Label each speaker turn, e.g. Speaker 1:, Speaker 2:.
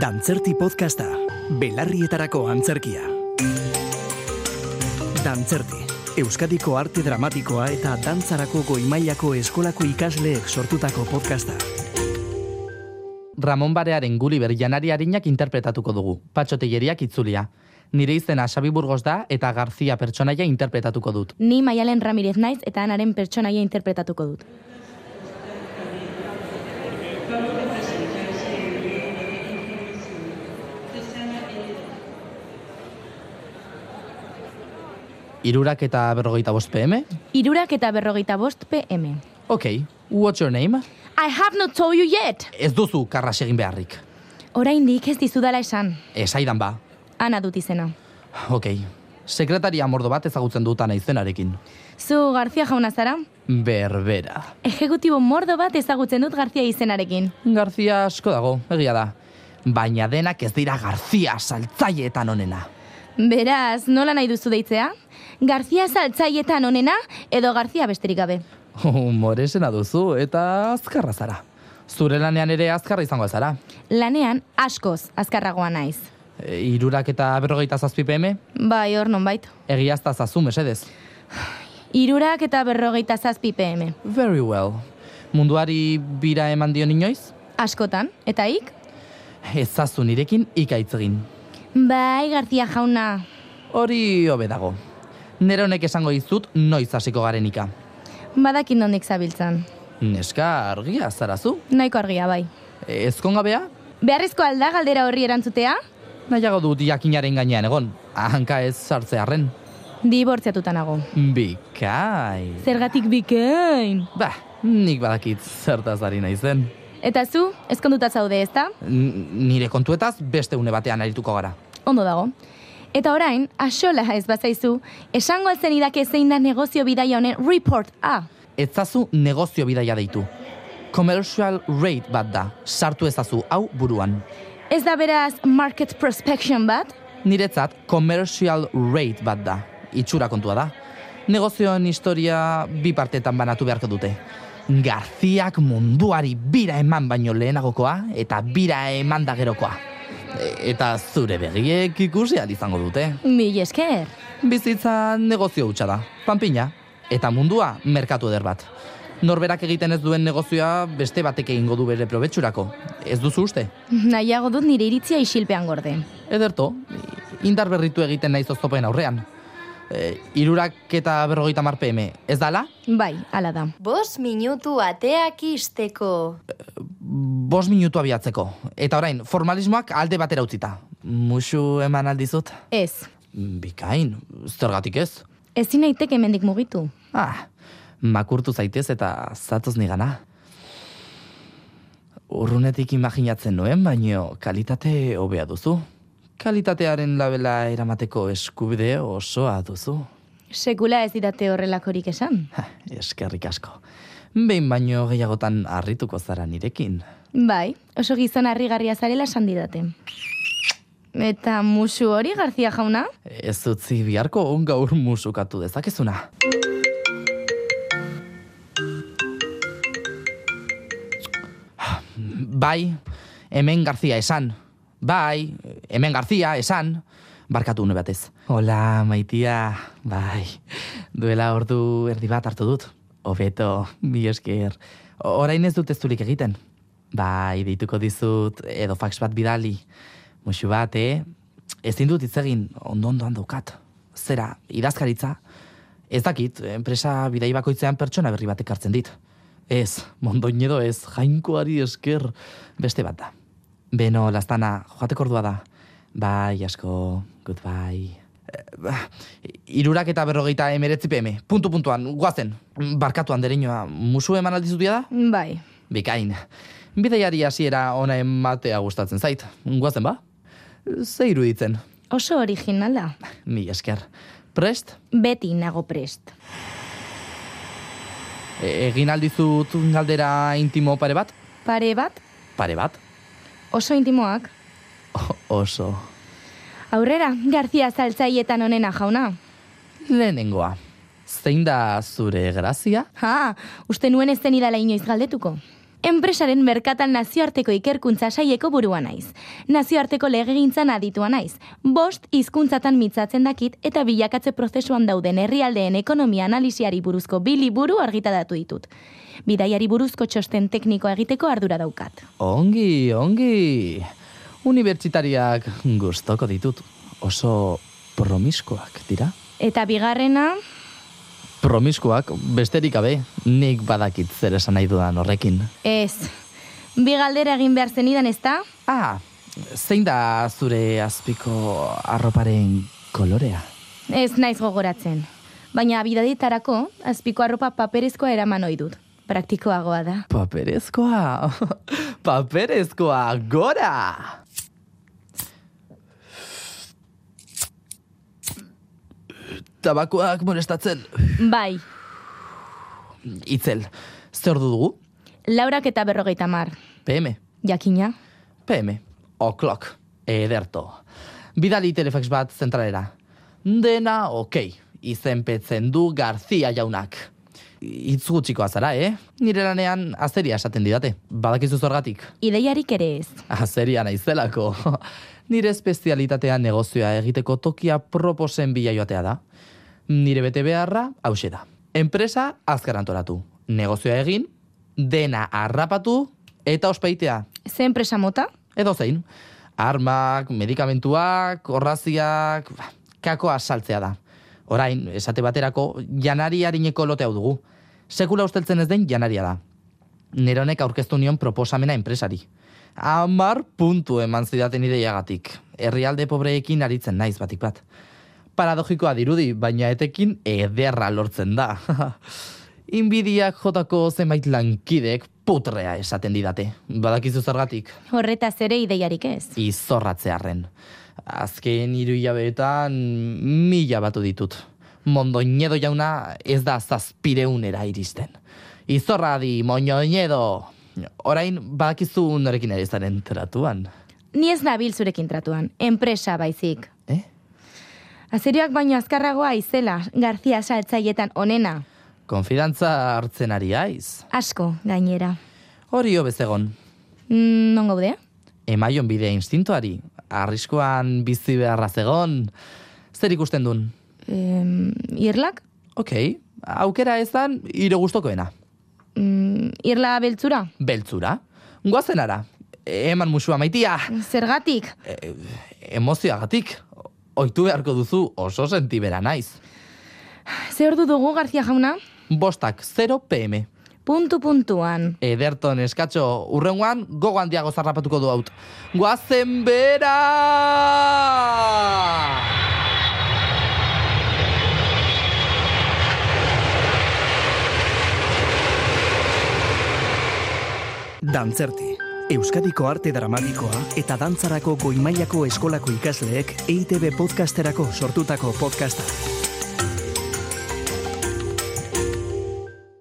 Speaker 1: Dantzerti podcasta, belarrietarako antzerkia. Dantzerti, Euskadiko arte dramatikoa eta dantzarako goimailako eskolako ikasleek sortutako podcasta.
Speaker 2: Ramon Barearen Gulliver janari harinak interpretatuko dugu, patxotegeriak itzulia. Nire izena Xabi Burgos da eta Garzia pertsonaia interpretatuko dut.
Speaker 3: Ni Maialen Ramirez naiz eta anaren pertsonaia interpretatuko dut.
Speaker 2: Irurak eta berrogeita bost PM?
Speaker 3: Irurak eta berrogeita bost PM.
Speaker 2: Ok, what's your name?
Speaker 3: I have not told you yet!
Speaker 2: Ez duzu karras egin beharrik.
Speaker 3: Oraindik ez dizudala esan.
Speaker 2: Esaidan ba.
Speaker 3: Ana dut izena.
Speaker 2: Ok, sekretaria mordo bat ezagutzen dut ana izenarekin.
Speaker 3: Zu Garzia jauna zara?
Speaker 2: Berbera.
Speaker 3: Ejekutibo mordo bat ezagutzen dut Garzia izenarekin.
Speaker 2: Garzia asko dago, egia da. Baina denak ez dira Garzia saltzaietan onena.
Speaker 3: Beraz, nola nahi duzu deitzea? Garzia saltzaietan onena edo Garzia besterik gabe.
Speaker 2: Humoresena duzu eta azkarra zara. Zure lanean ere azkarra izango al zara.
Speaker 3: Lanean askoz azkarragoa naiz.
Speaker 2: E, irurak eta berrogeita zazpi PM,
Speaker 3: Bai, hor nonbait.
Speaker 2: egiazta zazu mesedez.
Speaker 3: Irurak eta berrogeita zazpi PM.
Speaker 2: Very well. Munduari bira eman dion inoiz?
Speaker 3: Askotan, eta ik?
Speaker 2: Ezazu nirekin ikaitz egin.
Speaker 3: Bai, Garzia jauna.
Speaker 2: Hori hobe dago. Nere honek esango dizut noiz hasiko garenika.
Speaker 3: Badakin nondik zabiltzan.
Speaker 2: Neska argia zarazu.
Speaker 3: Nahiko argia bai.
Speaker 2: Ezkongabea?
Speaker 3: Beharrezko alda galdera horri erantzutea?
Speaker 2: Nahiago dut jakinaren gainean egon. Hanka ez sartzearren.
Speaker 3: Dibortziatuta nago.
Speaker 2: Bikai.
Speaker 3: Zergatik bikain.
Speaker 2: Ba, nik badakit zertaz ari naizen.
Speaker 3: Eta zu, ezkonduta zaude ezta?
Speaker 2: N- nire kontuetaz beste une batean arituko gara.
Speaker 3: Ondo dago. Eta orain, asola ez bazaizu, esango alzen idake zein da negozio bidaia honen report A.
Speaker 2: Etzazu negozio bidaia deitu. Commercial rate bat da, sartu ezazu hau buruan.
Speaker 3: Ez da beraz market prospection bat?
Speaker 2: Niretzat, commercial rate bat da, itxura kontua da. Negozioen historia bi partetan banatu beharko dute. Garziak munduari bira eman baino lehenagokoa eta bira eman da gerokoa. E- Eta zure begiek ikusi ahal izango dute.
Speaker 3: Mil esker.
Speaker 2: Bizitza negozio hutsa da, panpina, eta mundua merkatu eder bat. Norberak egiten ez duen negozioa beste batek egingo du bere probetxurako. Ez duzu uste?
Speaker 3: Nahiago dut nire iritzia isilpean gorde.
Speaker 2: Ederto, indar berritu egiten naiz oztopen aurrean. E, irurak eta berrogeita mar PM, ez dala?
Speaker 3: Bai, hala da.
Speaker 4: Bos minutu ateak isteko.
Speaker 2: Bos minutu abiatzeko. Eta orain, formalismoak alde batera utzita. Musu eman aldizut?
Speaker 3: Ez,
Speaker 2: Bikain, zergatik ez?
Speaker 3: ezin naiteke hemendik mugitu.
Speaker 2: Ah, makurtu zaitez eta zatoz nigana. Urrunetik imaginatzen nuen, baino kalitate hobea duzu. Kalitatearen labela eramateko eskubide osoa duzu.
Speaker 3: Sekula ez didate horrelakorik esan.
Speaker 2: Ha, eskerrik asko. Behin baino gehiagotan harrituko zara nirekin.
Speaker 3: Bai, oso gizon harrigarria zarela esan didate. Eta musu hori, Garzia jauna?
Speaker 2: Ez utzi biharko gaur musukatu dezakezuna. Bai, hemen Garzia esan. Bai, hemen Garzia esan. Barkatu une batez. Hola, maitia. Bai, duela ordu erdi bat hartu dut. Hobeto, bi esker. Orain ez dut eztulik egiten. Bai, deituko dizut, edo fax bat bidali. Muxu bat, eh? Ezin dut hitz egin ondo-ondoan daukat. Zera, idazkaritza. Ez dakit, enpresa bidai bakoitzean pertsona berri batek hartzen dit. Ez, mondoinedo ez, jainkoari esker beste bat da. Beno, lastana, joateko ordua da. Bai, asko, goodbye. Eh, ba, Irurak eta berrogeita emeretzi PM, puntu puntuan, guazen. Barkatu handereñoa, musu eman aldizutia da?
Speaker 3: Bai,
Speaker 2: Bikain, bideiari hasiera ona ematea gustatzen zait. Guazen ba? Ze iruditzen,
Speaker 3: oso original da.
Speaker 2: mi esker. Prest,
Speaker 3: Beti nago prest.
Speaker 2: E- egin aldizut galdera intimo pare bat?
Speaker 3: Pare bat,
Speaker 2: Pare bat?
Speaker 3: oso intimoak.
Speaker 2: O- oso.
Speaker 3: Aurrera, Garzia zaltzaietan onena jauna.
Speaker 2: Lehenengoa. Zein da zure grazia?
Speaker 3: Ha, uste nuen ez zen idala inoiz galdetuko. Enpresaren merkatal nazioarteko ikerkuntza saieko burua naiz. Nazioarteko legegintzan aditua naiz. Bost hizkuntzatan mitzatzen dakit eta bilakatze prozesuan dauden herrialdeen ekonomia analisiari buruzko bi liburu argitaratu ditut. Bidaiari buruzko txosten teknikoa egiteko ardura daukat.
Speaker 2: Ongi, ongi. Unibertsitariak gustoko ditut. Oso promiskoak dira.
Speaker 3: Eta bigarrena,
Speaker 2: Promiskoak besterik gabe, nik badakit zer esan nahi dudan horrekin.
Speaker 3: ez. Bi galdera egin behar zenidan ez da?
Speaker 2: Ah, zein da zure azpiko arroparen kolorea?
Speaker 3: Ez naiz gogoratzen. Baina bidadetarako, azpiko arropa paperezkoa eraman ohi dut. Praktikoagoa da.
Speaker 2: Paperezkoa, paperezkoa, gora! Tabakoak molestatzen,
Speaker 3: Bai,
Speaker 2: itzel, zer ordu dugu?
Speaker 3: laurak eta berrogeita mar.
Speaker 2: PM,
Speaker 3: Jakina,
Speaker 2: PM, o'clock, ederto. Bidali telefax bat zentralera. Dena, okei, izenpetzen du Garzia jaunak. Itz gutxikoa zara, eh? Nire lanean azeria esaten didate. Badakizu zorgatik.
Speaker 3: ideiarik ere ez.
Speaker 2: Azeria naizelako. Nire espezialitatea negozioa egiteko tokia proposen bila joatea da. Nire bete beharra hause da. Enpresa azkar antolatu. Negozioa egin, dena harrapatu eta ospeitea.
Speaker 3: Ze enpresa mota?
Speaker 2: Edo zein. Armak, medikamentuak, horraziak, ba, kakoa saltzea da. Orain, esate baterako, janari harineko lote hau dugu. Sekula usteltzen ez den janaria da. Neronek aurkeztu nion proposamena enpresari. Amar puntu eman zidaten ideiagatik. Herrialde pobreekin aritzen naiz batik bat. Paradogikoa dirudi, baina etekin ederra lortzen da. Inbidiak jotako zenbait lankidek putrea esaten didate. Badakizu zergatik
Speaker 3: Horretaz ere ideiarik ez.
Speaker 2: izorratzearren. Azken hiru hilabeetan mila batu ditut. Mondoñedo jauna ez da zazpireunera iristen. Izorradi, moñoñedo! Orain, badakizu norekin ari zaren tratuan.
Speaker 3: Ni ez nabil zurekin tratuan, enpresa baizik.
Speaker 2: Eh?
Speaker 3: Azerioak baino azkarragoa izela, Garzia saltzaietan onena.
Speaker 2: Konfidantza hartzen ari aiz.
Speaker 3: Asko, gainera.
Speaker 2: Hori bezegon,
Speaker 3: Mm, non gaude?
Speaker 2: emaion bidea instintuari. Arriskuan bizi beharra zegon. Zer ikusten dun?
Speaker 3: Em, irlak?
Speaker 2: Okei, aukera ezan, ire gustokoena.
Speaker 3: Mm, irla beltzura?
Speaker 2: beltzura. Goazen ara, eman musua maitia,
Speaker 3: Zergatik?
Speaker 2: emozioagatik, oitu beharko duzu oso sentibera naiz.
Speaker 3: Ze ordu dugu, Garzia jauna?
Speaker 2: Bostak 0 PM.
Speaker 3: Puntu puntuan.
Speaker 2: Ederton eskatxo urrengoan gogo handiago zarrapatuko du haut. Goazen bera!
Speaker 1: Dantzerti. Euskadiko arte dramatikoa eta E dantzarako goimailako eskolako ikasleek EITB podcasterako sortutako podcasta.